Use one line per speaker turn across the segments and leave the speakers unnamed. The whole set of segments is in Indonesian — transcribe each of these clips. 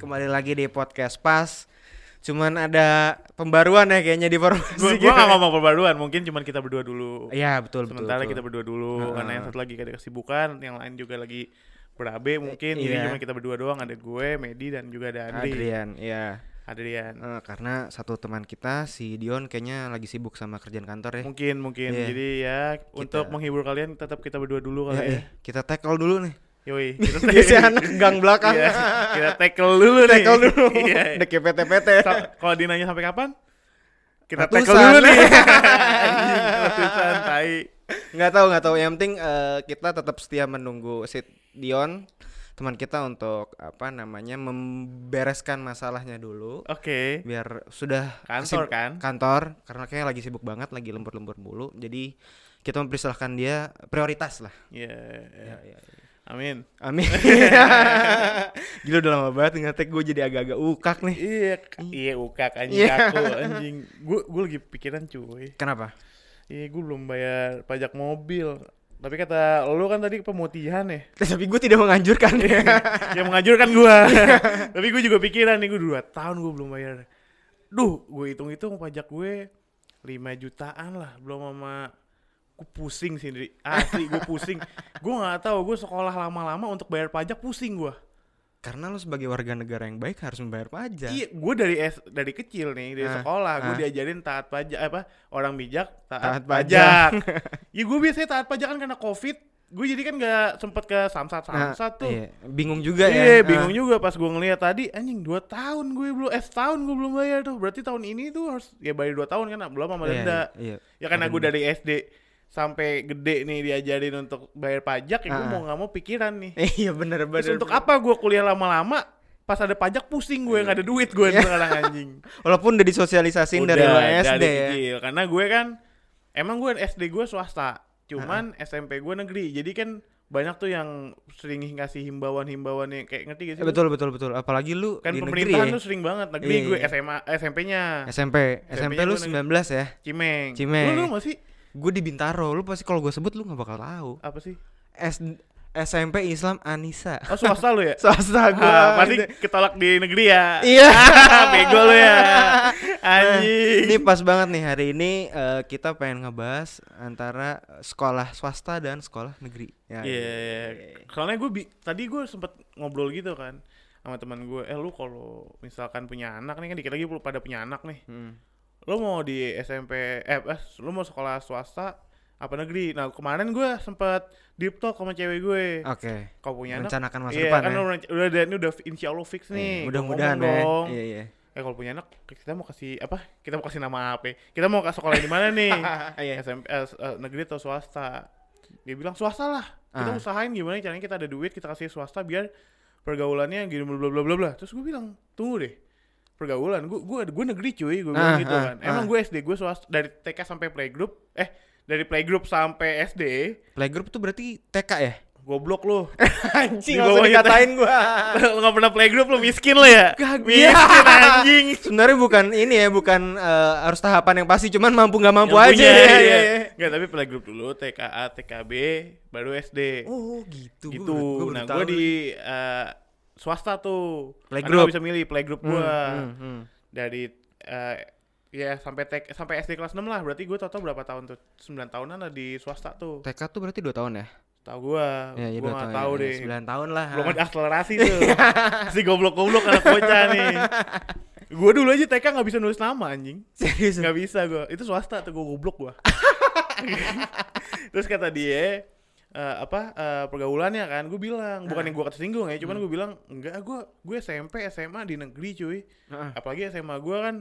kembali lagi di podcast pas. Cuman ada pembaruan ya kayaknya di formasi.
Gua,
gitu
gua gak
ya.
ngomong perbaruan, mungkin cuman kita berdua dulu.
Iya betul betul.
Sementara
betul.
kita berdua dulu, karena yang satu lagi ada kesibukan, yang lain juga lagi berabe mungkin. Jadi
iya.
cuma kita berdua doang, ada gue, Medi dan juga ada Andri.
Adrian, ya.
Adrian.
Eh, karena satu teman kita si Dion kayaknya lagi sibuk sama kerjaan kantor ya.
Mungkin mungkin.
Iya.
Jadi ya untuk menghibur kalian tetap kita berdua
Ya,
dulu kali ya.
eh, kita tackle dulu nih.
Yoi. Kita
Dia si anak gang belakang.
Iya, kita tackle dulu nih.
Tackle dulu.
Iya.
Udah kayak PT-PT.
Sa- Kalau dinanya sampai kapan? Kita
ya. Ratusan.
tackle dulu nih. Anjing, Ratusan tai.
nggak tahu nggak tahu yang penting eh, kita tetap setia menunggu si Dion teman kita untuk apa namanya membereskan masalahnya dulu
Oke.
biar sudah
Kantor kan?
kantor karena kayaknya lagi sibuk banget lagi lembur-lembur mulu jadi kita mempersilahkan dia prioritas lah
Iya. Amin.
amin gila udah lama banget ngetek gue jadi agak-agak ukak nih
Iya, k- iya ukak anjing
Iya.
kaku anjing. Gue gue lagi pikiran cuy.
kenapa
Iya, gue belum bayar pajak mobil. Tapi kata lu kan tadi pemutihan ya.
tapi gue tidak menganjurkan
yang mengajurkan gua. Tapi gue juga pikiran nih gue dua tahun gue belum bayar. Duh, gue hitung-hitung pajak gue 5 jutaan lah belum sama gue pusing sih Dri. asli gue pusing gue nggak tahu gue sekolah lama-lama untuk bayar pajak pusing gua
karena lo sebagai warga negara yang baik harus membayar pajak
Iya, gue dari S, dari kecil nih dari
Ah,
sekolah gue
ah.
diajarin taat pajak apa orang bijak taat,
Taat pajak.
pajak. ya gue biasanya taat pajak kan karena covid, gue jadi kan nggak sempet ke samsat
Nah,
samsat tuh.
iya. bingung juga ya
Iya,
Ah.
bingung juga pas gue ngeliat tadi anjing 2 tahun gue belum eh tahun gue belum bayar tuh. Berarti tahun ini tuh harus ya bayar 2 tahun kan belum sama
Iya,
denda.
iya, iya.
Ya karena gue dari SD sampai gede nih diajarin untuk bayar pajak ya gue
Ah.
mau nggak mau pikiran nih.
Eh, Iya bener
Terus
bener.
untuk apa gue kuliah lama-lama pas ada pajak pusing gue nggak ada duit gue
Iya.
sekarang anjing.
Walaupun udah disosialisasiin dari
Udah,
lo SD
dari
ya.
kecil. Karena gue kan emang gue SD gue swasta, cuman SMP gue negeri. Jadi kan banyak tuh yang sering ngasih himbauan-himbauan yang kayak ngerti gak sih?
Eh,
lu?
Betul betul betul. Apalagi lu
kan
di negeri
pemerintahan
ya.
tuh sering banget negeri
Iya,
gue
iya.
SMA SMP-nya
SMP, SMP
SMP-nya
lu
gua negeri.
19 ya.
Cimeng.
Cimeng.
Lu, lu masih
Gue di Bintaro, lu pasti kalau gue sebut lu nggak bakal tahu.
apa sih?
S SMP Islam Anissa.
Oh swasta lu ya?
Swasta gue.
Ah, pasti ketolak di negeri ya.
Iya.
Bego lu ya.
Ini
Anjing.
pas banget nih hari ini eh, kita pengen ngebahas antara sekolah swasta dan sekolah negeri. Ya,
Iya. Soalnya gue bi- tadi gue sempet ngobrol gitu kan sama teman gue, eh lu kalau misalkan punya anak nih kan dikit lagi pada punya anak nih.
Hmm.
Lu mau di SMP eh eh, lu mau sekolah swasta apa negeri? Nah, kemarin gue sempet deep talk sama cewek gue.
Oke.
Kau punya anak
Merencanakan Ah, masa
Iya,
depan
kan
ya.
udah, udah ada ini udah insya Allah fix nih.
Iya,
Gua
Mudah-mudahan
ngomong
ya.
dong.
Iya iya.
Eh kalau punya anak kita mau kasih apa? Kita mau kasih nama apa? Kita mau ke sekolah di mana nih?
Iya.
SMP eh, s- eh, negeri atau swasta? Dia bilang swasta lah. Kita
Ah.
usahain gimana caranya kita ada duit kita kasih swasta biar pergaulannya gini bla bla bla bla bla. Terus gue bilang tunggu deh pergaulan gue gue gue negeri cuy gue bilang
Ah,
gitu
ah,
kan emang
ah.
gue SD gue swasta dari TK sampai playgroup eh dari playgroup sampai SD
Playgroup tuh berarti TK ya?
goblok lu
Anjing
langsung dikatain
gua.
lu gak pernah playgroup lu miskin lo ya?
Kagak.
Miskin anjing.
Sebenarnya bukan ini ya, bukan eh, harus tahapan yang pasti, cuman mampu nggak mampu
Yang
aja.
punya,
ya,
iya.
iya, iya.
Nggak, tapi playgroup dulu TKA, TKB, baru SD.
Oh gitu. Gua baru-
gitu.
gua baru
nah,
tahu
gue
nih.
di eh, swasta tuh. Karena
Playgroup.
gua bisa milih playgroup
Hmm,
gue
hmm, hmm.
dari eh, ya sampai TK, sampai SD kelas 6 lah. Berarti gue total berapa tahun tuh? 9 tahunan lah di swasta tuh.
TK tuh berarti 2 tahun ya?
Tahu gue.
Iya, iya,
gue
dua
nggak
tahun,
tahu
iya,
deh.
9 tahun lah.
Belum ada akselerasi tuh. si goblok-goblok anak bocah nih. Gue dulu aja TK nggak bisa nulis nama anjing.
Serius.
Gak bisa gue, itu swasta tuh gue goblok gue Terus kata dia eh, apa eh, pergaulannya kan
Nah.
gue bilang bukan yang gue kata singgung ya
Hmm.
cuman gue bilang enggak gue gue SMP SMA di negeri cuy
Heeh.
apalagi SMA gue kan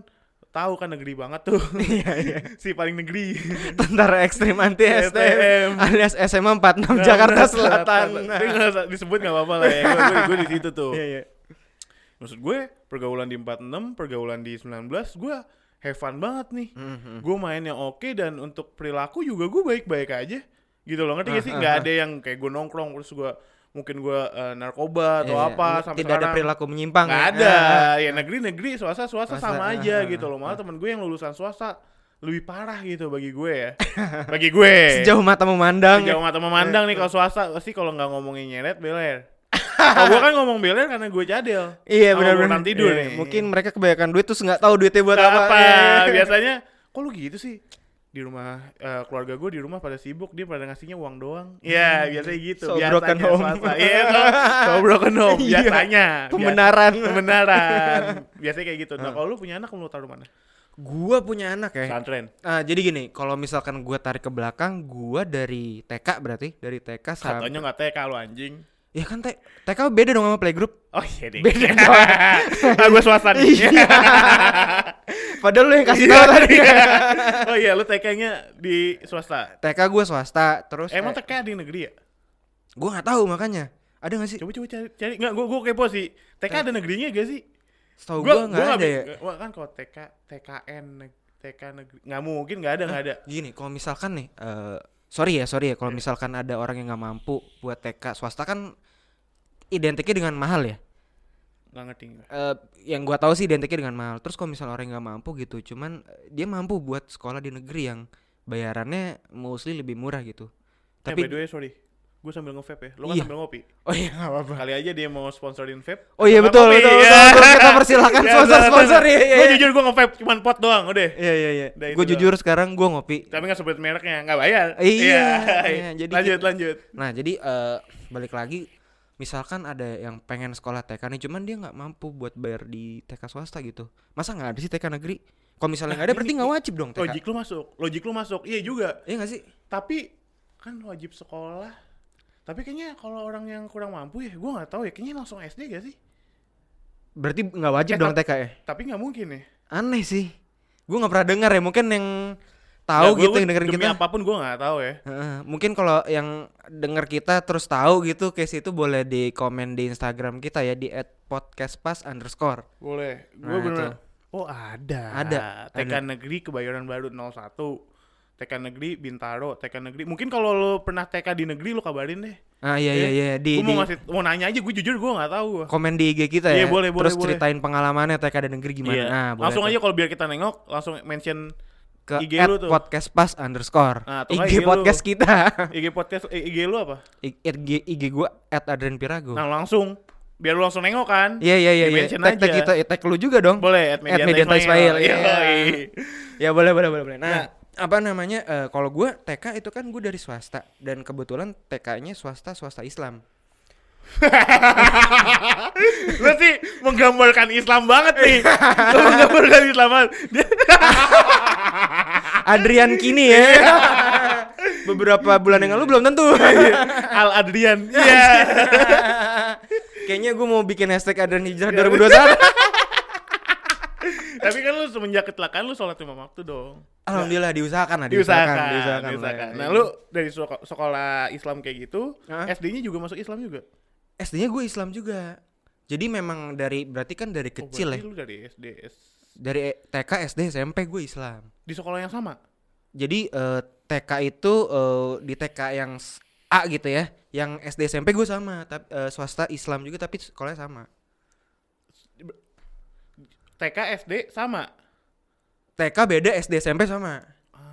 tahu kan negeri banget tuh
Iya, iya.
si paling negeri
Tentara ekstrim anti
STM.
STM alias SMA 46 Jakarta Selatan. Nah.
Dia nggak- disebut nggak apa-apa lah ya Gue- gue- gue di situ tuh
Iya, iya.
maksud gue pergaulan di 46 pergaulan di 19 gue have fun banget nih
Hmm, hmm.
gue mainnya oke dan untuk perilaku juga gue baik-baik aja gitu loh ngerti gak
Ah,
sih nggak ada yang kayak gue nongkrong terus gue mungkin gue eh, narkoba atau
Iya, iya.
apa sampai
Tidak ada
sekarang.
perilaku menyimpang.
nggak
ya.
ada
Ah, ah.
ya negeri negeri swasta
Swasta,
swasta sama
ah,
aja
ah,
gitu
ah,
loh malah temen gue yang lulusan swasta lebih parah gitu bagi gue ya bagi gue
Eh, Sejauh Eh, mata memandang.
Sejauh mata memandang nih kalau swasta pasti kalau nggak ngomongin nyeret beler Kalau gue kan ngomong beler karena gue cadel.
Iya
Sama
benar-benar.
bangunan tidur
Iya,
nih.
Mungkin mereka kebanyakan duit terus nggak tahu duitnya buat apa.
apa?
Iya, iya.
Biasanya kok lu gitu sih? Di rumah eh, keluarga gue di rumah pada sibuk dia pada ngasihnya uang doang. Iya,
Hmm.
biasanya gitu.
So
biasanya
broken home.
swasta. Iya, so, so broken home
Iya.
biasanya. Bias-
Pembenaran.
Pembenaran. biasanya kayak gitu.
Ah.
Nah, kalau lu punya anak lu taruh
Eh,
mana?
Gua punya anak ya.
Pesantren.
Ah, jadi gini, kalau misalkan gua tarik ke belakang, gua dari TK berarti dari TK sampai
Katanya nggak TK lu anjing.
ya kan T- TK beda dong sama playgroup.
Oh iya deh.
Beda
ah, gue swasta nih.
Padahal lu yang kasih
Iya,
tahu tadi.
iya. oh iya, lu TK-nya di swasta.
TK gua swasta, terus
Emang
eh,
TK ada yang negeri ya?
gua nggak tahu makanya. Ada nggak sih?
Coba coba cari cari enggak gua gua kepo sih. TK ada negerinya gak sih?
Setahu gua nggak ada
bi-
ya.
nggak- Wah, kan kalau TK TKN neg- TK negeri nggak mungkin nggak ada nggak ada.
Gini, kalau misalkan nih, eh sorry ya, sorry ya, kalau misalkan ada orang yang nggak mampu buat TK swasta kan identiknya dengan mahal ya.
Nggak ngerti gua.
Eh yang gua tahu sih identiknya dengan mahal. Terus kalau misalnya orang yang nggak mampu gitu, cuman eh, dia mampu buat sekolah di negeri yang bayarannya mostly lebih murah gitu.
Tapi eh, by the
Tapi
way, sorry. Gua sambil nge-vape ya. Lo kan
Iya.
sambil ngopi.
oh iya nggak apa-apa.
Kali aja dia mau sponsorin vape.
Oh iya
Nggak
betul
ngopi.
betul.
Iya.
betul. Terus kita persilakan
Iya,
sponsor-sponsor
betul,
ya.
betul.
iya,
Gua
iya.
jujur gua nge-vape cuman pot doang udah.
Iya iya iya.
Udah, Nah, itu
Gue
doang.
jujur sekarang gua ngopi.
Tapi nggak sebut mereknya, nggak bayar.
Iya, iya, jadi
lanjut
kita-
lanjut.
Nah jadi eh, balik lagi misalkan ada yang pengen sekolah TK nih cuman dia nggak mampu buat bayar di TK swasta gitu masa nggak ada sih TK negeri kalau misalnya nggak ada berarti nggak wajib dong TK
Logik lu masuk, logik lu masuk. Iya juga.
iya nggak sih
tapi kan wajib sekolah tapi kayaknya kalau orang yang kurang mampu ya gua nggak tahu ya kayaknya langsung SD gak sih
berarti nggak wajib
Eh,
dong TK ya
tapi nggak mungkin ya
aneh sih gue nggak pernah dengar ya mungkin yang tahu
Nggak, Nah, gua-
gitu
gua
yang dengerin
demi
kita
apapun gua nggak tahu ya
Heeh, mungkin kalau yang denger kita terus tahu gitu case itu boleh di komen di Instagram kita ya di @podcastpas underscore
boleh gue
Nah, itu.
bener oh ada
Ada,
TK
ada.
negeri kebayoran baru 01 TK negeri Bintaro TK negeri mungkin kalau lo pernah TK di negeri lo kabarin deh
ah iya iya iya
Iya.
di,
Gua
di
mau ngasih mau nanya aja gue jujur gue nggak tahu gua.
komen di IG kita ya
Iya, boleh, boleh,
terus
boleh.
ceritain pengalamannya TK dan negeri gimana
Iya.
nah boleh
langsung
tuh.
aja kalau biar kita nengok langsung mention
ke
IG
IG
lu tuh.
podcastpas underscore
Nah, atau nggak IG
IG
lu.
podcast kita
IG podcast eh, IG lu apa
I- IG IG gua at Adrian Pirago
nah langsung biar lu langsung nengok kan
iya iya iya
di
iya
mention
tag tag kita
aja.
eh, tag lu juga dong
Boleh, at
at Media Time Ismail. Iya. ya boleh boleh boleh boleh
Nah.
nah apa namanya eh, kalau gua TK itu kan gua dari swasta dan kebetulan TK-nya swasta swasta Islam
Lu sih menggambarkan Islam banget nih. Lu menggambarkan Islam banget. Dia- Ah.
Adrian kini ya
Iya.
beberapa bulan yang lalu belum tentu
Al Adrian. Iya.
kayaknya gua mau bikin hashtag Adrian Hijrah 2021
Tapi kan lu semenjak kecelakaan lu sholat lima waktu dong.
Alhamdulillah diusahakan lah
Diusahakan,
diusahakan diusahakan,
diusahakan.
lah. Iya.
Nah, lu dari soko- sekolah Islam kayak gitu,
Hah?
SD-nya juga masuk Islam juga.
SD-nya gue Islam juga. Jadi memang dari berarti kan dari
Oh,
kecil
berarti
ya.
lu dari SD S-
Dari E- TK, SD, SMP gue Islam.
di sekolah yang sama.
Jadi eh, TK itu eh, di TK yang s- A gitu ya. Yang SD, SMP gue sama, tapi swasta Islam juga tapi sekolahnya sama.
TK, SD sama.
TK beda, SD, SMP sama.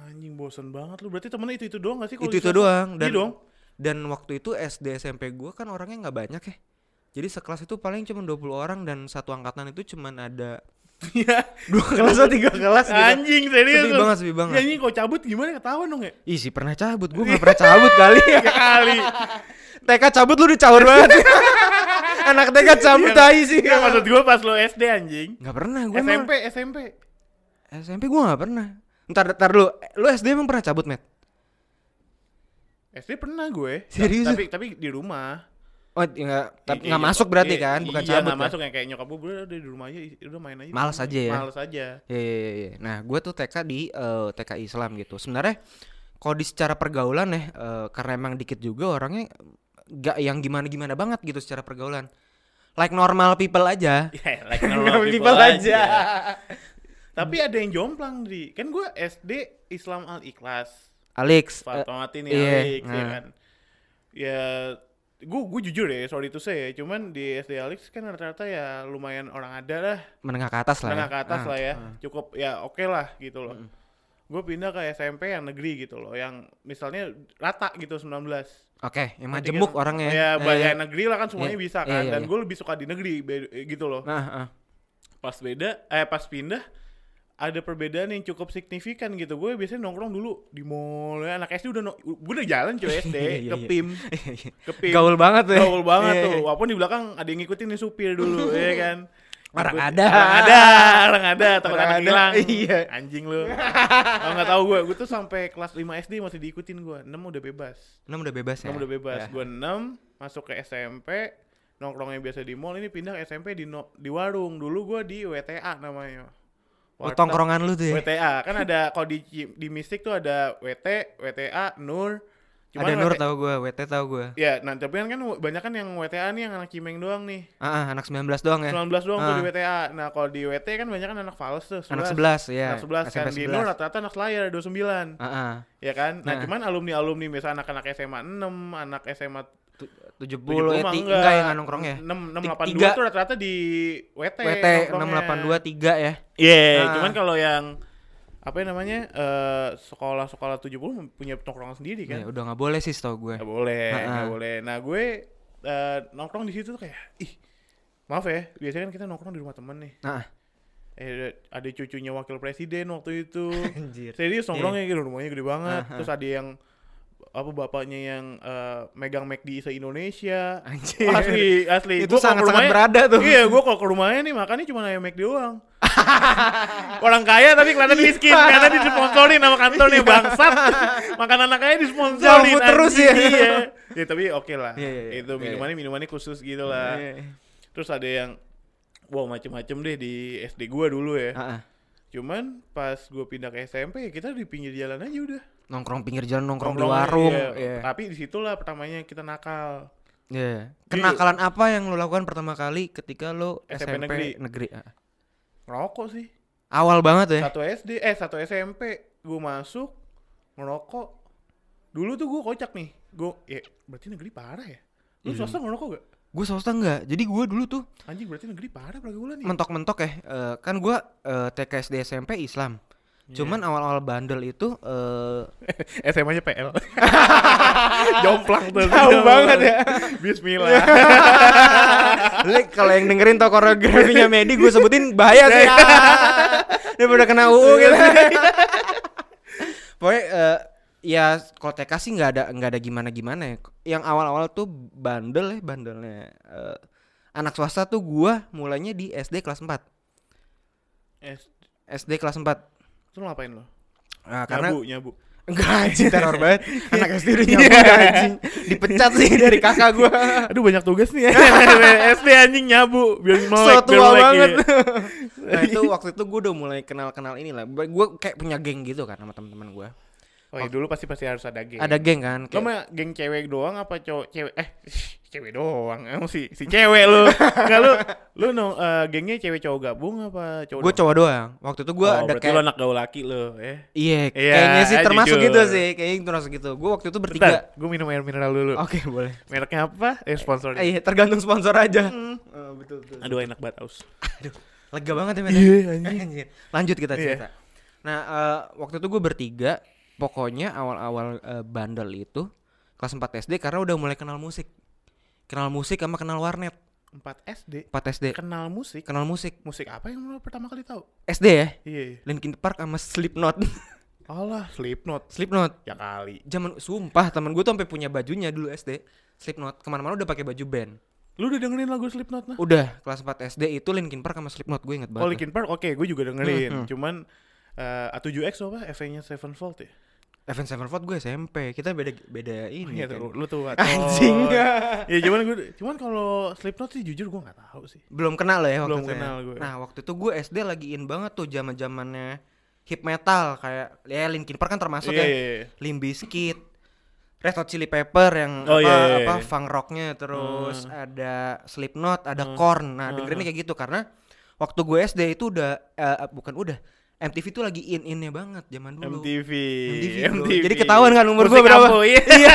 Anjing bosen banget lu. Berarti temennya itu-itu doang gak sih kalau
itu
di
itu
swasta?
doang
Iya dong.
dan waktu itu SD SMP gue kan orangnya nggak banyak ya. Jadi sekelas itu paling cuma 20 orang dan satu angkatan itu cuma ada
Iya.
dua kelas atau tiga kelas gitu.
Anjing serius.
Sepi
lu.
banget, sepi banget.
Ya, anjing kalau cabut gimana ketahuan dong ya?
Ih sih pernah cabut, gue gak pernah cabut kali ya.
Ya kali.
TK cabut lu dicaur banget. Anak TK cabut
Iya,
tai sih.
Iya maksud gue pas lo SD anjing.
Gak pernah gue
SMP, SMP.
SMP gue gak pernah. Ntar, ntar lu, lu SD emang pernah cabut, Matt?
SD pernah gue.
Serius?
Tapi tapi di rumah.
Oh, iya, nggak- tapi
Iya,
nggak
iya,
masuk berarti
iya,
kan, bukan
iya,
cabut.
nggak
kan?
masuk yang kayak nyokap gue udah di rumah aja, i- udah main aja.
Males
Malas
aja ya?
Males aja.
Iya, iya, iya, iya. Nah, gue tuh TK di eh, TK Islam gitu. Sebenarnya kalau di secara pergaulan ya, eh, karena emang dikit juga orangnya gak yang gimana-gimana banget gitu secara pergaulan. Like normal people aja.
Ya, like
Normal people
Tapi ada yang jomplang di. Kan gue SD Islam Al Ikhlas.
Alex, eh,
Fatmawati nih
iya,
Alex ya
nah.
kan. Ya gue gue jujur ya, sorry to say ya, cuman di SD Alex kan rata-rata ya lumayan orang ada lah
menengah ke atas lah. ya.
menengah ke atas
Ah,
lah ya
ah.
cukup ya oke lah gitu loh gue pindah ke SMP yang negeri gitu loh yang misalnya rata gitu 19
Oke, yang mah
Nanti
jemuk
kan-
orangnya.
Ya,
Eh,
bayar negeri lah kan semuanya
Iya,
bisa
iya,
kan.
iya,
Dan
iya.
gue lebih suka di negeri be- gitu loh.
Nah, ah.
Pas beda, eh pas pindah ada perbedaan yang cukup signifikan gitu. Gue biasanya nongkrong dulu di mall. ya. Anak SD udah no- gue udah jalan cuy SD
Iya, iya,
ke
iya.
PIM, ke PIM.
Gaul banget tuh. ya.
Gaul banget
Iya,
tuh.
iya.
Walaupun di belakang ada yang ngikutin nih supir dulu, ya kan.
Orang
Ngikut-
ada.
Orang ada, orang ada, takut
Orang
anak
ada,
hilang.
iya.
Anjing lu. Kalau nggak tahu gue, gue tuh sampai kelas 5 SD masih diikutin gue. 6 udah bebas.
Enam udah bebas ya.
Enam udah bebas.
Ya.
Gue enam masuk ke SMP nongkrongnya biasa di mall ini pindah ke SMP di no- di warung dulu gue di WTA namanya.
Oh,
Warteg-
tongkrongan lu tuh ya.
WTA kan ada kalau di Ci- di Mistik tuh ada WT, WTA, Nur.
Ada Nur
WT
tahu gua, WT tahu gua.
Ya, nah tapi kan kan banyak kan yang WTA nih yang anak Cimeng doang nih.
Ah, ah, anak 19 doang ya.
19 doang tuh
Ah.
di WTA. Nah, kalau di WT kan banyak kan anak fals tuh,
Anak
11.
11 ya.
Anak 11 kan
SMP
di Nur rata-rata anak Slayer 29.
Ah, ah.
Ya kan? Nah,
Nah.
cuman alumni-alumni misalnya anak-anak SMA 6, anak SMA
Tu- 70 ya,
70 mah
ti-
enggak.
enggak yang nggak nongkrong ya.
6682
Tiga.
tuh rata-rata di WT.
WT
nongkrongnya.
6823 ya.
Iya,
Nah.
cuman kalau yang apa ya namanya? eh, sekolah-sekolah 70 punya nongkrong sendiri kan.
Ya, udah nggak boleh sih tau gue.
Nggak boleh,
Heeh.
nggak boleh. Nah, gue eh, nongkrong di situ tuh kayak ih. Maaf ya, biasanya kan kita nongkrong di rumah temen nih.
Nah,
Eh, ada cucunya wakil presiden waktu itu.
anjir. Iya.
Serius nongkrongnya gitu, rumahnya gede banget.
Aha.
Terus ada yang apa bapaknya yang eh, megang McD se Indonesia.
Anjir.
Oh, Asli, asli.
Itu
Gua kalau ke
sangat-sangat
rumahnya-
berada tuh.
Iya, gua kalau ke rumahnya nih makannya cuma ayam McD doang. Orang kaya tapi kelihatan
Iya.
miskin karena disponsorin sama kantornya bangsat. Makan anak kaya disponsorin.
Jamu Iya. terus
anjing,
ya.
Iya. Ya tapi oke lah.
Iya, iya, iya.
Itu
Iya, iya.
minumannya minumannya khusus gitu lah. Terus ada yang wow macem-macem deh di SD gua dulu ya.
Ah, ah.
Cuman pas gue pindah ke SMP ya kita di pinggir jalan aja udah.
Nongkrong pinggir jalan, nongkrong, di
Nongkrongnya,
warung.
iya.
Iya.
Tapi disitulah pertamanya kita nakal.
Iya. Kenakalan apa yang lo lakukan pertama kali ketika lo
SMP
SMP,
negeri.
negeri? Ah.
Ngerokok sih.
Awal banget ya.
Satu SD, eh satu SMP gue masuk ngerokok. Dulu tuh gue kocak nih. Gue ya berarti negeri parah ya. Lu
Iya.
swasta ngerokok gak?
Gue swasta enggak. Jadi gue dulu tuh
Anjing berarti negeri parah pergaulan nih.
mentok-mentok ya. eh, kan gue TK SD SMP Islam. Cuman awal-awal bandel itu eh
SMA-nya PL. Jomplang tuh.
Jauh banget ya.
Bismillah.
Lek, kalau yang dengerin tau koreografinya Medi gue sebutin bahaya sih. Dia udah kena UU gitu. Pokoknya eh, ya kalau TK sih nggak ada nggak ada gimana gimana ya. Yang awal-awal tuh bandel ya bandelnya. Eh, anak swasta tuh gua mulainya di SD kelas 4
Eh,
SD kelas 4
Terus lu ngapain lo?
Nah, karena
Nyabu, nyabu.
enggak anjing teror banget. Anak SD udah
Iya.
nyabu anjing. Dipecat sih dari kakak gua.
Aduh banyak tugas
ya.
nih. SD anjing nyabu biar melek,
So
biar
tua
melek,
banget.
iya.
nah itu waktu itu gue udah mulai kenal-kenal ini lah. Gue kayak punya geng gitu kan sama teman-teman gue.
Oh, iya, dulu pasti pasti harus ada geng.
Ada geng kan.
Lo
Kayak,
mah geng cewek doang apa cowok cewek? Eh, cewek doang. Emang si si cewek lu. Enggak lu. Lu no, eh, gengnya cewek cowok gabung apa cowok?
gue cowok doang. Waktu itu gue
Oh,
ada
berarti
kayak
lu anak gaul laki lu, ya.
Iya,
Iya,
kayaknya sih
eh,
termasuk
jujur.
gitu sih. Kayaknya termasuk gitu. Gue waktu itu bertiga.
Bentar, gue minum air mineral dulu.
Oke, boleh.
Mereknya apa? Eh, sponsornya.
Eh, Iya, tergantung sponsor aja. Eh, betul betul.
Aduh enak banget aus.
Aduh, lega banget ya, men.
Iya,
Anjir. Lanjut kita
Iya.
cerita. Nah, eh, waktu itu gue bertiga, pokoknya awal-awal eh, bandel itu kelas 4 SD karena udah mulai kenal musik. Kenal musik sama kenal warnet.
4 SD
4 SD.
kenal musik.
Kenal musik.
Musik apa yang lu pertama kali tahu?
SD ya?
Iya.
Linkin Park sama Slipknot.
Allah, Slipknot.
Slipknot.
Ya kali.
Zaman sumpah teman gue tuh sampai punya bajunya dulu SD. Slipknot kemana-mana udah pakai baju band.
Lu udah dengerin lagu Slipknot nah?
Udah kelas 4 SD itu Linkin Park sama Slipknot gue inget banget.
Oh
tuh.
Linkin Park oke gue juga dengerin
Hmm, hmm.
cuman eh A7X apa FA-nya Sevenfold ya?
Avenged Sevenfold gue SMP. Kita beda beda ini.
Iya
kan.
tuh, lu tuh
Anjing.
Ya cuman gue cuman kalau Slipknot sih jujur gue nggak tahu sih.
Belum kenal lo ya waktu
Belum
itu. ya.
kenal gue.
Nah, waktu itu gue SD lagi in banget tuh zaman-zamannya hip metal kayak ya Linkin Park kan termasuk
Iya,
ya.
iya, iya.
Limp Bizkit, Red Hot Chili Pepper yang
Oh,
apa
iya, iya,
apa
iya.
funk rocknya terus ada Slipknot, ada
Hmm.
Korn. Nah,
Hmm,
dengerinnya
hmm.
kayak gitu karena waktu gue SD itu udah eh, bukan udah MTV tuh lagi in-innya banget zaman dulu.
MTV.
MTV, bro. Jadi ketahuan kan umur
Musik
gua berapa?
Kamu, iya.
Iya.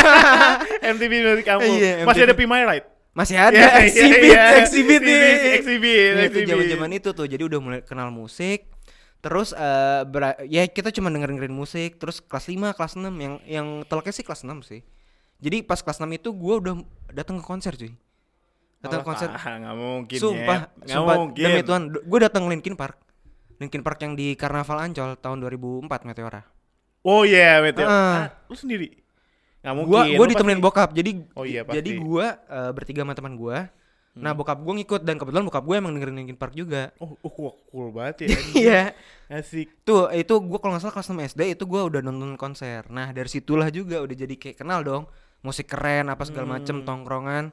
MTV musik kamu.
Iya,
Masih
MTV.
ada Be My Right.
Masih ada
Iya, iya,
exhibit,
iya.
exhibit nih.
Exhibit,
Nah, itu
exhibit.
zaman-zaman itu tuh. Jadi udah mulai kenal musik. Terus eh, bera- ya kita cuma dengerin musik. Terus kelas 5, kelas 6 yang yang telaknya sih kelas 6 sih. Jadi pas kelas 6 itu gue udah datang ke konser cuy. Datang ke konser.
Ah, nggak mungkin.
Sumpah,
Nyet. Nggak
sumpah
mungkin.
demi Tuhan, gue datang Linkin Park. Linkin Park yang di Karnaval Ancol tahun 2004 Meteora.
Oh iya, betul.
Ah.
Ah, lu sendiri? Nggak mungkin.
Gua gua
lu
ditemenin
pasti-
bokap. Jadi
Oh iya,
jadi
pasti. Hmm.
gua eh, bertiga sama teman gua. Nah, bokap gua ngikut dan kebetulan bokap gua emang dengerin Linkin Park juga.
Oh, oh cool, cool banget ya.
Iya.
Asik.
Tuh, itu gua kalau nggak salah kelas 6 SD itu gua udah nonton konser. Nah, dari situlah juga udah jadi kayak kenal dong. Musik keren apa segala
Hmm.
macem tongkrongan.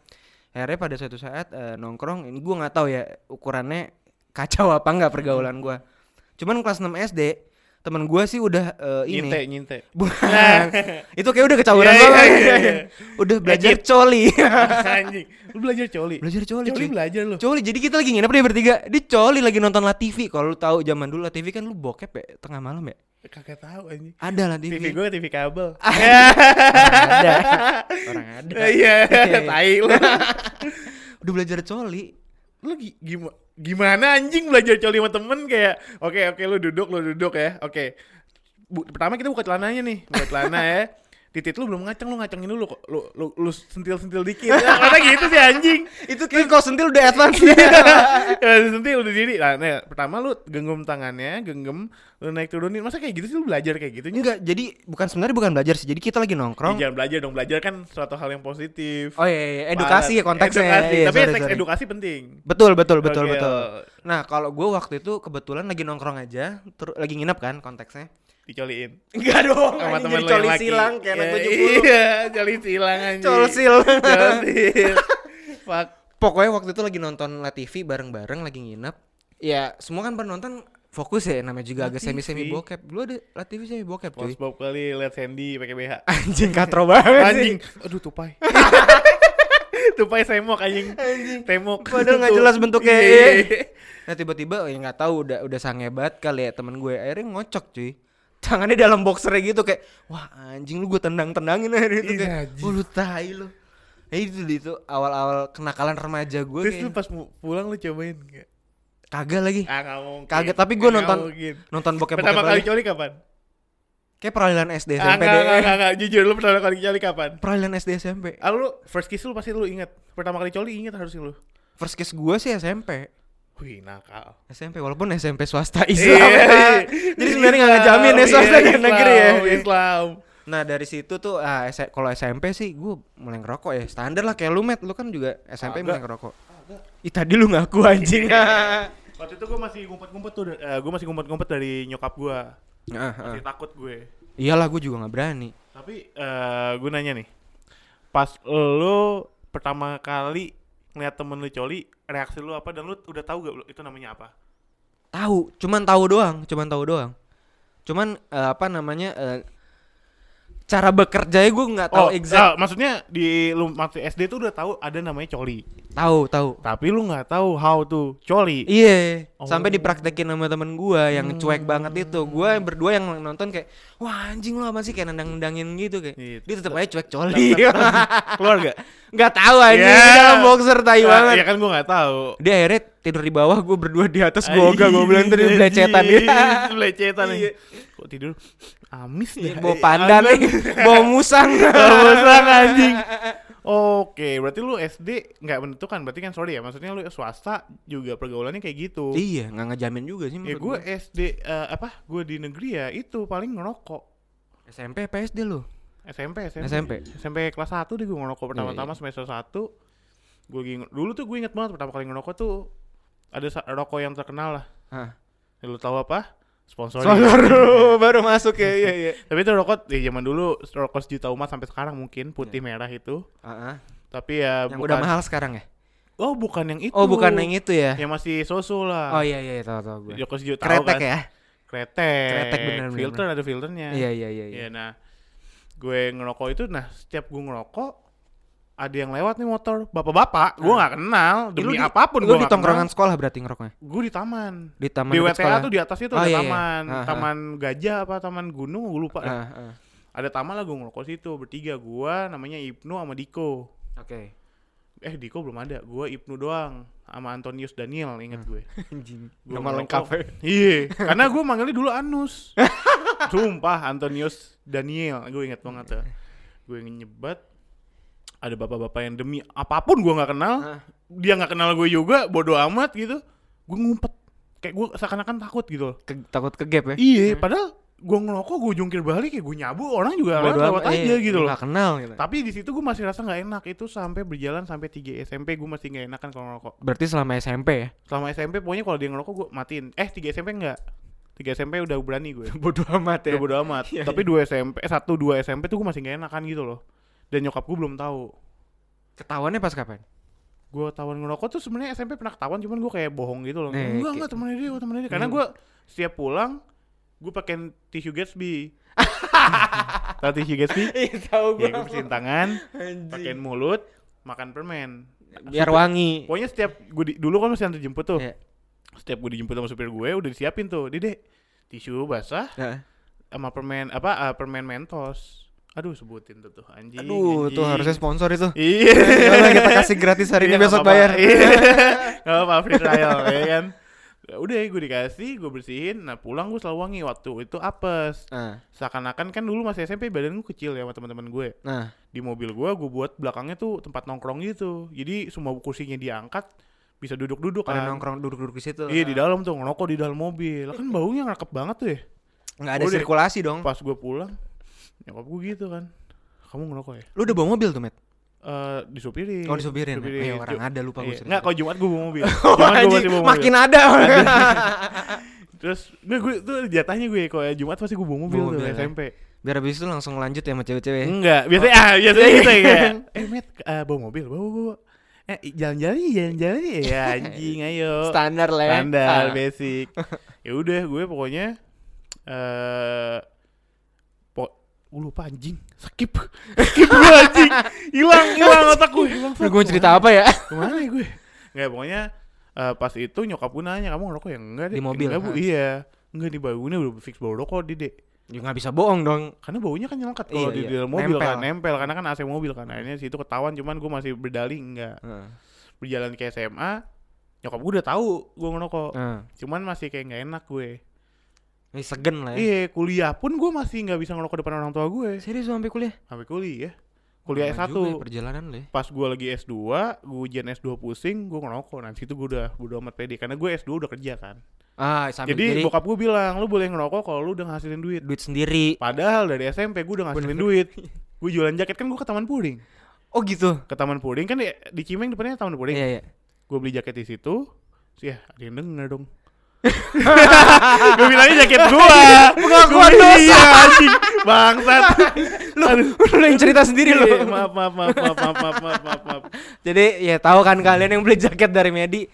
Akhirnya pada suatu saat eh, nongkrong ini gua nggak tahu ya ukurannya kacau apa nggak pergaulan
Hmm.
gua. Cuman kelas 6 SD teman gua sih udah eh, ini
Nyinte, nyinte.
Bukan. itu kayak udah kecauran
Iya, iya,
banget.
iya, iya.
udah belajar
Edit.
coli.
Anjing. Lu belajar coli.
belajar coli,
Coli
cuy.
belajar lu.
Coli. Jadi kita lagi nginep deh bertiga. Di coli lagi nonton La TV. Kalau lu tahu zaman dulu La TV kan lu bokep ya tengah malam ya.
Eh, Kagak tahu anjing.
Ada La TV.
TV gue TV kabel.
ada. Orang ada.
Iya, tai lu.
Udah belajar coli.
Lu gi- gima- gimana anjing belajar coli sama temen kayak oke oke lu duduk lu duduk ya. Oke. Bu- pertama kita buka celananya nih, buka celana ya. Titit lu belum ngaceng, lu ngacengin dulu kok. Lu lu, lu sentil-sentil dikit. Karena gitu sih anjing.
Itu kayak kalau sentil udah advance.
Ya, nanti udah diri. Nah, nah, pertama lu genggam tangannya, genggam, lu naik turunin. Masa kayak gitu sih lu belajar kayak gitu? Nyet?
Enggak, jadi bukan sebenarnya bukan belajar sih. Jadi kita lagi
Ih,
nongkrong.
Jangan belajar dong, belajar kan suatu hal yang positif.
Oh iya, iya. edukasi ya
Banget.
konteksnya.
Edukasi.
Iya,
Tapi
sorry,
seks
sorry.
edukasi penting.
Betul, betul, betul,
Oke,
betul.
oh.
Nah, kalau gue waktu itu kebetulan lagi nongkrong aja, ter- lagi nginep kan konteksnya.
Dicoliin.
Enggak dong,
Sama
Oh, anjing,
temen
jadi
lu yang
coli
laki.
silang kayak anak
Ya,
70.
Iya, coli silang anjing.
Col sil.
Col sil. Fuck.
Pokoknya waktu itu lagi nonton La TV bareng-bareng lagi nginep. Ya, semua kan penonton fokus ya namanya juga
La
agak semi-semi
TV.
bokep. Lu ada La TV semi bokep cuy.
SpongeBob kali liat Sandy pakai BH.
Anjing katro banget
Anjing. Aduh, tupai. tupai semok anjing. Temok.
Padahal nggak jelas bentuknya.
Iya, iya, iya.
Nah, tiba-tiba ya nggak tahu udah udah sangebat kali ya temen gue. Akhirnya ngocok cuy. Tangannya dalam boxer gitu kayak, wah anjing lu gue tendang-tendangin akhirnya itu
Ih,
kayak,
najis.
"Wah, lu tai lu. Ya itu itu awal-awal kenakalan remaja gue
Terus lu
kayak
pas mu- pulang lu cobain nggak?
kagak lagi.
Ah nggak mungkin.
Kaget, tapi gua
Nggak
nonton-
mungkin.
Nonton bokep-bokep
Pertama kali
lagi.
coli kapan?
Kayak peralihan SD
Ah
SMP
nggak
deh.
nggak nggak, nggak. Jujur lu pertama kali coli kapan?
Peralihan SD SMP.
Ah lu first kiss lu pasti lu inget. Pertama kali coli inget harus lu.
First kiss gue sih SMP.
Wih nakal.
SMP walaupun SMP swasta Islam. ya. Jadi sebenarnya nggak ngejamin ya
Islam,
swasta
iya,
di negeri ya.
Islam, Islam.
Nah dari situ tuh ah, S- kalau SMP sih gue mulai ngerokok ya standar lah kayak lu met lu kan juga SMP mulai
Agak. Iya.
ngerokok. Ih tadi lu ngaku anjing. ah,
Waktu itu gue masih ngumpet-ngumpet tuh, eh, gue masih ngumpet-ngumpet dari nyokap gue,
ah.
masih takut gue.
Iyalah gue juga nggak berani.
Tapi eh gue nanya nih, pas lo pertama kali ngeliat temen lu coli, reaksi lu apa dan lu udah tahu gak lu itu namanya apa?
Tahu, cuman tahu doang, cuman tahu doang. Cuman eh, apa namanya eh, cara bekerjanya gue nggak tahu
oh,
exact.
eh, maksudnya di lu masih SD tuh udah tahu ada namanya coli,
Tahu tahu.
tapi lu nggak tahu how to coli.
Iya,
Oh. Hmm.
sampai dipraktekin sama temen gua yang cuek banget itu. Gua yang berdua yang nonton kayak, wah anjing lu apa sih kayak nendang-nendangin gitu kayak.
Iya,
Dia tetap aja cuek coli.
Keluar gak?
Gak tahu anjing
Ya.
di dalam boxer tai banget.
Ya kan gue nggak tahu.
Dia akhirnya tidur di bawah, gua berdua di atas, gua ogah, gua bilang tadi ya.
Anjing,
belecetan dia.
Belecetan nih. Kok tidur amis dah.
Bawa pandan
Amis.
nih, bawa musang.
Iya, Bawa musang, anjing. Oke, berarti lu SD nggak menentukan, berarti kan sorry ya, maksudnya lu swasta juga pergaulannya kayak gitu.
Iya, gak ngejamin juga sih
Ya
menurut
gue
gua.
SD eh, apa? Gue di negeri ya itu paling ngerokok.
SMP PSD lu.
SMP, SMP.
SMP.
kelas 1 deh gue ngerokok pertama-tama
iya.
semester 1. Gue lagi nge- dulu tuh gue inget banget pertama kali ngerokok tuh ada sa- rokok yang terkenal lah.
Hah.
Ya, Lu tahu apa? Sponsor.
Baru baru masuk ya, iya iya.
Tapi itu rokok di zaman dulu rokok sejuta umat sampai sekarang mungkin putih merah itu.
Ah, ah.
Tapi ya
Iya. Yang
bukan
udah mahal sekarang ya?
Oh, bukan yang itu.
Oh, bukan yang itu ya?
Yang masih
Oh
soso lah.
iya iya tahu tahu gue.
Rokok sejuta
Kretek
kan?
ya?
Kretek.
Kretek, bener, bener,
Filter ada filternya.
Iya iya iya.
Iya,
iya.
nah gue ngerokok itu nah setiap gue ngerokok ada yang lewat nih motor bapak-bapak gue nggak kenal demi apapun
gue
gue
Ah. Eh, di tongkrongan sekolah berarti ngerokoknya
gue di taman
di taman
di
dekat sekolah.
WTA tuh di atas itu
Oh,
ada
iya, iya.
taman
Ah, ah.
taman gajah apa taman gunung gue lupa
Ah, ah.
ada taman lah gue ngerokok situ bertiga gue namanya Ibnu sama Diko
Oke.
eh Diko belum ada gue Ibnu doang sama Antonius Daniel inget
Hmm.
gue
Anjing.
Gua
Nama
ngerokok.
lengkap.
Iya, karena gue manggilnya dulu Anus. Sumpah, Antonius Daniel, gue inget banget tuh. Gue ya. nyebat, ada bapak-bapak yang demi apapun gua nggak kenal
Hah.
dia nggak kenal gue juga bodoh amat gitu gue ngumpet kayak gue seakan-akan takut gitu loh
Ke- takut ke gap ya
iya padahal gue ngelokok gue jungkir balik ya gue nyabu orang juga
Bodo
lewat, lewat
amat,
aja
iya,
gitu loh
nggak kenal gitu.
tapi di situ gue masih rasa nggak enak itu sampai berjalan sampai 3 SMP gue masih nggak enakan kalau ngerokok
berarti selama SMP ya
selama SMP pokoknya kalau dia ngerokok gue matiin eh 3 SMP enggak 3 SMP udah berani gue
bodoh amat
udah bodo amat
Iya,
tapi 2 SMP 1 2 SMP tuh gue masih nggak enakan gitu loh dan nyokap gue belum tahu
ketahuannya pas kapan
gue ketahuan ngerokok tuh sebenarnya SMP pernah ketahuan cuman gue kayak bohong gitu loh
Eh,
enggak
kayak-
enggak temennya dia gua temennya dia karena
Hmm.
gue setiap pulang gue pakai tisu Gatsby tahu tisu Gatsby
iya tahu
ya gue bersihin tangan pakein mulut makan permen
biar wangi
pokoknya setiap gue dulu kan masih antar jemput tuh
Iya.
setiap gue dijemput sama supir gue udah disiapin tuh dede tisu basah
Heeh.
sama permen apa eh, permen mentos aduh sebutin tuh tuh anjing
aduh tuh
Iya, anjing.
harusnya sponsor itu
iya
Gimana kita kasih gratis hari ini
Iya,
besok
nggak apa-apa.
bayar
Iya. Nggak apa-apa free trial ya kan. Udah gue dikasih, gue bersihin. Nah pulang gue selalu wangi waktu itu apes.
nah
Seakan-akan kan dulu masih SMP badan gue kecil ya sama teman-teman gue.
nah
Di mobil gue gue buat belakangnya tuh tempat nongkrong gitu. Jadi semua kursinya diangkat bisa duduk-duduk
pada
kan.
nongkrong duduk-duduk di situ
Iya di dalam tuh ngerokok di dalam mobil. Lah, Kan baunya ngerkep banget tuh ya.
nggak ada
Udah.
sirkulasi dong
Pas gue pulang nyokap gue gitu kan. Kamu ngerokok ya?
lu udah bawa mobil tuh met
Eh disupirin.
Oh, disupirin ya? Eh, orang
Ju-
ada, lupa gue
Iya.
serius.
Nggak, kalau Jumat gue bawa mobil. Jumat
Anjing,
gue masih bawa mobil. Iya.
makin ada
Terus gue, gue tuh jatahnya gue kalau ya Jumat pasti gue bawa mobil
Bawa
tuh
mobil, ya?
SMP.
biar habis itu langsung lanjut ya sama cewek-cewek
Enggak, biasanya ah biasanya gitu ya. kayak, Eh, Matt, eh, bawa mobil, bawa bawa. Eh, i- jalan-jalan ya, jalan-jalan ya, ya anjing ayo.
standar lah ya.
Standar,
Ah.
basic. Ya udah, gue pokoknya eh po gue lupa anjing, skip. Skip gue anjing. Hilang, hilang otak gue. Hilang.
Aduh, gue cerita apa ya
Kemana ya gue? Enggak, pokoknya eh, pas itu nyokap gue nanya, kamu ngerokok ya? Enggak deh.
Di mobil,
Enggak, bu,
ha.
iya. Enggak, di baunya udah fix bau rokok, Dede.
ya nggak bisa bohong dong
Karena baunya kan nyelengkat
Iya,
kalau di
iya.
di dalam mobil
Nempel.
kan, nempel. Karena kan AC mobil kan. Akhirnya situ ketahuan, cuman gue masih berdali, enggak.
Heeh.
Berjalan ke SMA, nyokap gue udah tahu gue ngerokok.
Heeh.
Cuman masih kayak nggak enak gue.
ini segen lah ya
Iya, kuliah pun gue masih nggak bisa ngerokok depan orang tua gue.
serius lu sampai kuliah
Sampai kuliah. ya. Kuliah
Lama
S1.
juga ya perjalanan lo ya
pas gue lagi S2, gue ujian S2 pusing, gue ngerokok. Nah, situ gue udah bodo amat pede karena gue S2 udah kerja kan.
ah sambil
jadi, bokap gue bilang, lu boleh ngerokok kalau lu udah ngasilin duit.
duit sendiri
Padahal dari SMP gue udah ngasilin duit. Gue jualan jaket kan gue ke Taman Puring.
oh gitu
Ke Taman Puring kan di, di Cimeng depannya Taman Puring.
iya iya
Gue beli jaket di situ. Sih, ya, ada yang denger dong. gue bilangnya jaket gua
Pengakuan
Gua-
dosa.
iya, anjing bangsat
lu lu yang cerita sendiri lu
Iya, maaf maaf maaf maaf maaf maaf maaf maaf, maaf.
Jadi ya tahu kan kalian yang beli jaket dari Medi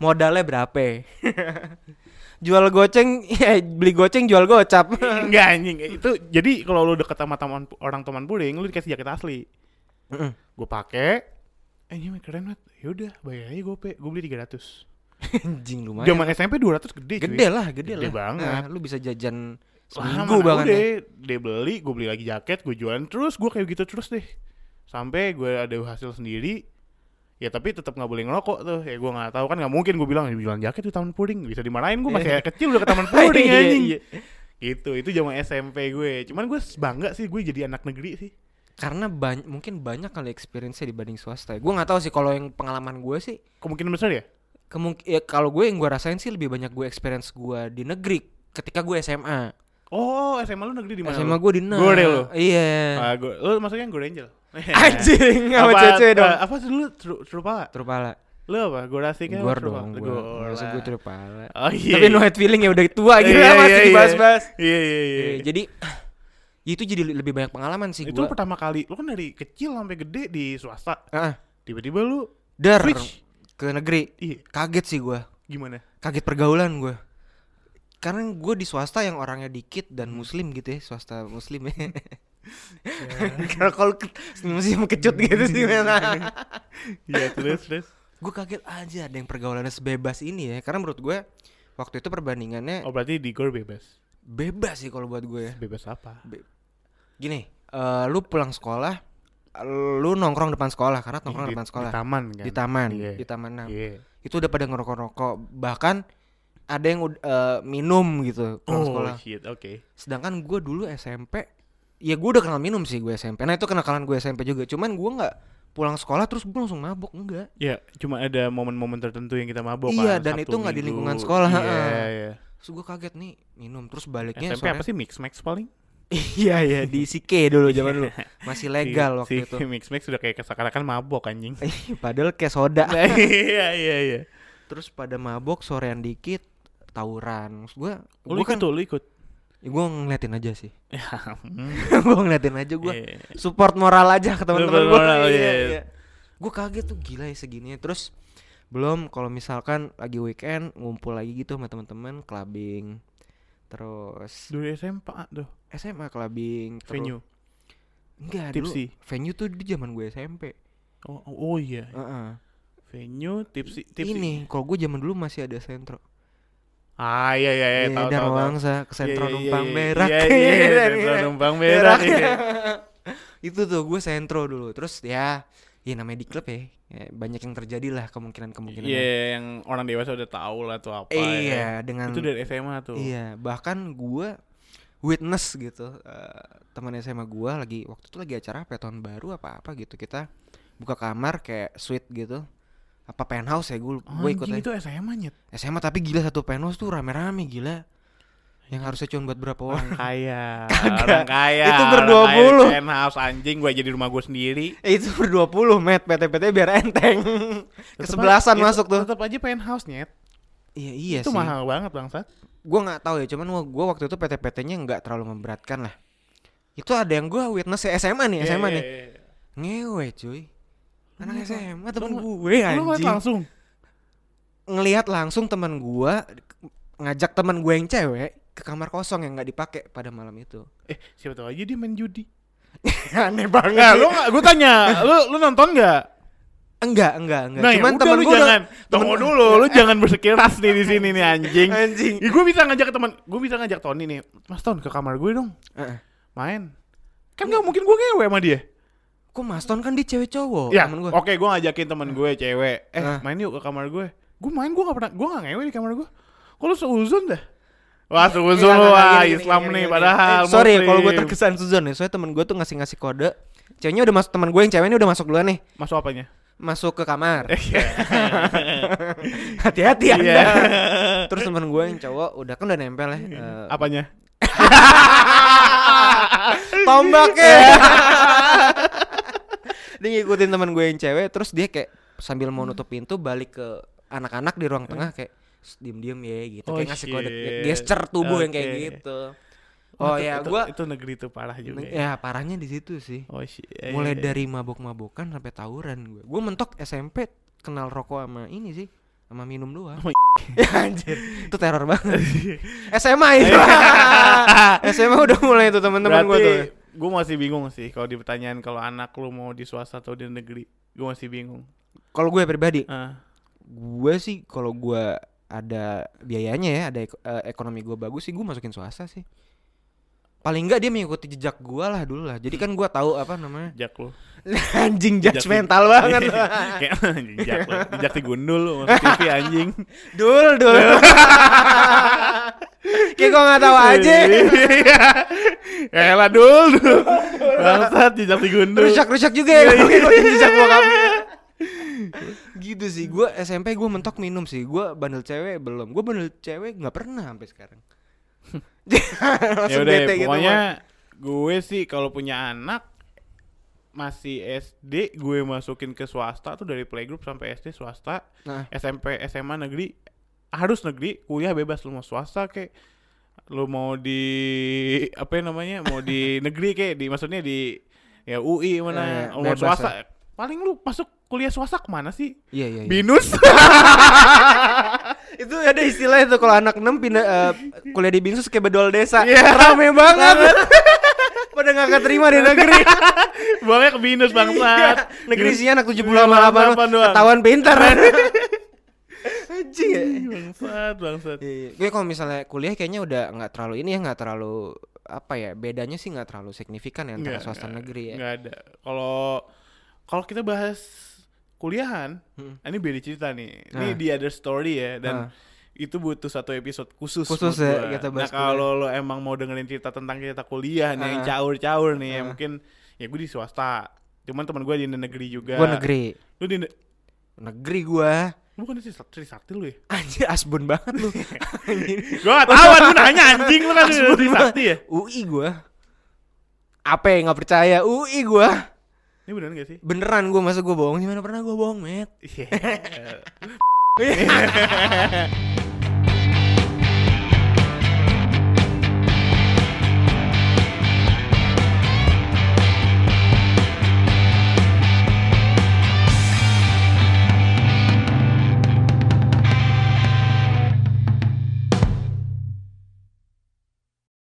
modalnya berapa? ya? jual goceng, eh, beli goceng jual gocap.
Enggak anjing itu jadi kalau lu deket sama taman orang taman puring lu dikasih jaket asli
Mm-mm.
gue pakai eh ini mah keren banget yaudah bayar aja gope gue beli 300
Anjing lumayan.
zaman SMP 200 gede cuy
gede lah, gede,
Gede
lah.
banget.
Nah, lu bisa jajan
Lama,
seminggu
nah,
bahkan.
udah,
ya.
dia beli gue beli lagi jaket gue jualan terus gue kayak gitu terus deh sampai gue ada hasil sendiri ya tapi tetap nggak boleh ngerokok tuh ya gue nggak tahu kan nggak mungkin gue bilang jualan jaket di taman puring bisa dimarahin gue masih kecil udah ke taman puring
Iya,
anjing
iya.
gitu itu zaman SMP gue cuman gue bangga sih gue jadi anak negeri sih
Karena bany- mungkin banyak kali experience-nya dibanding swasta. ya. Gua nggak tahu sih kalau yang pengalaman gue sih
kemungkinan besar ya
kemung ya, kalau gue yang gue rasain sih lebih banyak gue experience gue di negeri ketika gue SMA.
Oh, SMA lu negeri di mana?
SMA gue di negeri.
Gue deh lu.
Iya.
Ah, gua, lu maksudnya gue Angel.
Anjing sama
Apa-
cece dong.
eh, apa sih dulu tru, Trupala?
Terpala.
Lu apa? Gue rasik kan?
Gor dong gue Maksud gue
Trupala.
jeruk pala
Oh iya.
Tapi no hate feeling ya udah tua gitu
Iya,
ya masih
iya, iya.
dibahas-bahas
Iya iya iya.
Iya, Jadi ya itu jadi lebih banyak pengalaman sih
Itu lu
gue
pertama kali, lu kan dari kecil sampai gede di swasta.
ah,
Tiba-tiba lu
Dar
switch.
ke negeri
Iya,
Kaget sih gue
gimana?
Kaget pergaulan gue Karena gue di swasta yang orangnya dikit dan muslim gitu ya Swasta muslim ya
Iya.
Karena kalau ke- senyum-senyum kecut gitu sih
Iya, terus terus.
Gue kaget aja ada yang pergaulannya sebebas ini ya Karena menurut gue Waktu itu perbandingannya
Oh, berarti di Gor bebas.
bebas sih kalau buat gue ya
Bebas apa?
Gini, eh, lu pulang sekolah, lu nongkrong depan sekolah karena nongkrong
Di-
depan sekolah
Di taman kan.
di taman,
Iya.
di taman enam.
Iya.
Itu udah pada ngerokok-rokok, bahkan ada yang ud- eh, minum gitu pulang
Oh,
sekolah.
shit, oke.
Sedangkan gue dulu SMP, ya gue udah kenal minum sih gue SMP. Nah itu kenakalan gue SMP juga, cuman gue nggak pulang sekolah terus gue langsung mabok enggak
Ya, cuma ada momen-momen tertentu yang kita mabok
Iya,
kan,
dan
Sabtu,
itu nggak di
Minggu.
lingkungan sekolah,
Iya,
heeh. Iya,
iya.
terus gue kaget nih minum terus baliknya
SMP apa sih mix max paling?
iya ya di Sike dulu zaman dulu masih legal waktu
si,
itu
Si mix max sudah kayak kesakarakan mabok anjing.
padahal kayak soda
Nah, iya iya iya.
terus pada mabok sorean dikit tawuran gue
Lu
gue
ikut
kan
tuh, lu ikut.
gue ngeliatin aja sih
Ya, hmm.
gue ngeliatin aja gue
Iya.
support moral aja ke teman-teman
Support
gue
moral, iya, iya.
gue kaget tuh gila ya segini terus belum kalau misalkan lagi weekend ngumpul lagi gitu sama teman-teman clubbing terus
Dulu SMP tuh,
SMA clubbing terus-
venue.
enggak
Tipsy.
dulu venue tuh di zaman gue SMP
Oh, oh iya,
Heeh.
venue tipsi tipsi.
ini kalau gue zaman dulu masih ada sentro
Ah iya iya iya, tahu
dan
tahu. tahu.
Wangsa ke sentro
Iya, iya,
numpang
iya, iya,
berak
Iya, iya, iya,
Iya,
sentro
iya.
numpang berak.
Berak.
iya.
itu tuh gue sentro dulu terus ya ya namanya di klub ya, ya banyak yang terjadi lah kemungkinan kemungkinan
Iya, yang orang dewasa udah tahu lah tuh apa.
iya
ya.
dengan
Itu dari SMA tuh.
iya bahkan gue witness gitu eh, teman SMA gue lagi waktu itu lagi acara apa ya, tahun baru apa apa gitu kita buka kamar kayak suite gitu apa penthouse ya gue gue ikut
Anjing
aja.
itu SMA nyet.
SMA tapi gila satu penthouse tuh rame-rame gila yang harusnya cuma buat berapa orang
Orang kaya.
Kagak.
Orang kaya.
Itu
orang
berdua
kaya,
puluh.
penthouse, anjing gua jadi rumah gua sendiri.
Eh, itu per 20 met PT-PT biar enteng kesebelasan masuk tuh
Tetap aja penthouse nyet.
iya iya
itu
sih
mahal banget bangsat.
gue nggak tahu ya cuman gue waktu itu PT-PT-nya nggak terlalu memberatkan lah itu ada yang gue witness ya, SMA nih
Iya,
SMA
iya,
nih
iya.
ngewe cuy anak
Lu-
SMA temen
lu-
gue
iya. Lu ngeliat
anjing
langsung.
ngelihat langsung temen gue ngajak temen gue yang cewek ke kamar kosong yang nggak dipakai pada malam itu
Eh, siapa tahu aja dia main judi.
aneh banget
Enggak, lu enggak gua tanya, lu lu nonton enggak?
enggak enggak enggak
Nah,
cuman
ya udah,
temen
lu
gue
jangan. Tunggu dulu, lu jangan bersikeras nih di sini nih anjing.
anjing
Ya, gue bisa ngajak ke teman, gue bisa ngajak Tony nih. Mas Ton ke kamar gue dong,
Heeh.
main. Kan gak mungkin gue ngewe sama dia.
kok Mas Ton kan dia cewek cowok
ya,
temen gue
oke gue ngajakin teman gue cewek. Eh,
Ah.
main yuk ke kamar gue. Gue main, gue gak pernah, gue gak ngewe di kamar gue. Kok lu seuzon dah? Wah,
Enggak,
seuzon lu,
enggak,
wah
Iya, gini, gini,
Islam
gini,
nih
gini.
padahal.
Eh, sorry kalau gue
Muslim.
terkesan Suzon ya soalnya temen gue tuh ngasih ngasih kode ceweknya udah masuk teman gue yang ceweknya udah masuk duluan nih
Masuk apanya?
masuk ke kamar
Iya.
hati-hati anda
Iya.
terus temen gue yang cowok udah kan udah nempel ya eh,
Apanya?
tombaknya eh. dia ngikutin temen gue yang cewek terus dia kayak sambil mau nutup pintu balik ke anak-anak di ruang tengah kayak "Shh, diem-diem ya gitu
Eh. Oh,
kayak ngasih kode
shit.
gesture tubuh yang kayak
Oke.
gitu oh
Nah, Itu-
ya
itu-
gue
itu negeri tuh parah juga. ya.
ya parahnya di situ sih
Oh shit.
mulai dari mabok-mabokan sampai tawuran gue gue mentok SMP kenal rokok sama ini sih sama minum doang
Sama
ya anjir itu teror banget SMA itu SMA udah mulai tuh teman-teman gue tuh
Gue masih bingung sih kalau di pertanyaan kalau anak lu mau di swasta atau di negeri. Gue masih bingung.
kalau gue pribadi
Ah,
gue sih kalau gue ada biayanya ya ada ek- eh, ekonomi gue bagus sih gue masukin swasta sih paling enggak dia mengikuti jejak gue lah dulu lah jadi kan gue tahu apa namanya
jak lu.
anjing
Jejak
judgmental banget lu.
Kayak jak lu. Jak di gundul lu masuk TV anjing.
dul dul kayak gue nggak tahu aja
Iya. Ya elah dul dul. Bangsat jejak di gundul. Iya,
rusak-rusak juga ya kalau ngikutin jejak bokapnya. gitu sih gue SMP gue mentok minum sih gue bandel cewek belum gue bandel cewek nggak pernah sampai sekarang
Ya
Langsung
udah ya,
bete gitu,
pokoknya gue sih kalau punya anak masih SD gue masukin ke swasta tuh dari playgroup sampai SD swasta
Bang. nah,
SMP SMA negeri harus negeri kuliah bebas lu mau swasta kek lu mau di apa ya namanya mau di negeri kek di maksudnya di ya
Eh,
UI mana Lu mau
bebas
swasta paling lu masuk kuliah swasta kemana sih
iya iya, iya.
binus
itu ada istilah itu kalau anak 6 pindah eh, kuliah di binsus kayak bedol desa
Iya.
rame banget pada nggak keterima di negeri
buangnya ke binus
Iya,
bangsat
negeri
Binus-
sih anak 78 delapan
Delapan doang.
ketahuan pintar anjing ya
Ih, bangsat bangsat
Iya, gue kalau misalnya kuliah kayaknya udah nggak terlalu ini ya nggak terlalu apa ya bedanya sih nggak terlalu signifikan ya antara
Nggak,
swasta
nggak,
negeri ya.
nggak ada kalau kalau kita bahas kuliahan ah,
Mm.
ini beda cerita nih ini
Ah.
the other story ya dan
Ah.
itu butuh satu episode khusus
Khusus
menurut
ya,
gua.
kita
nah
bahas
kalau lo emang mau dengerin cerita tentang cerita kuliah nih yang
Ah.
caur-caur nih ya
Ah.
mungkin ya gue di swasta Cuman teman gue di negeri juga.
Gue negeri.
Lu di ne-
Negeri gue.
bukan di Trisakti Trisakti lu ya?
Anjir asbun banget lu. Anjir.
Gue gak tau kan, lu nanya anjing lu kan di
Asbun
Trisakti ya?
banget. UI gue. Apa yang nggak percaya? UI gue.
Ini beneran gak sih?
Beneran gue masa gue bohong? Gimana pernah gue bohong, Met?
Iya.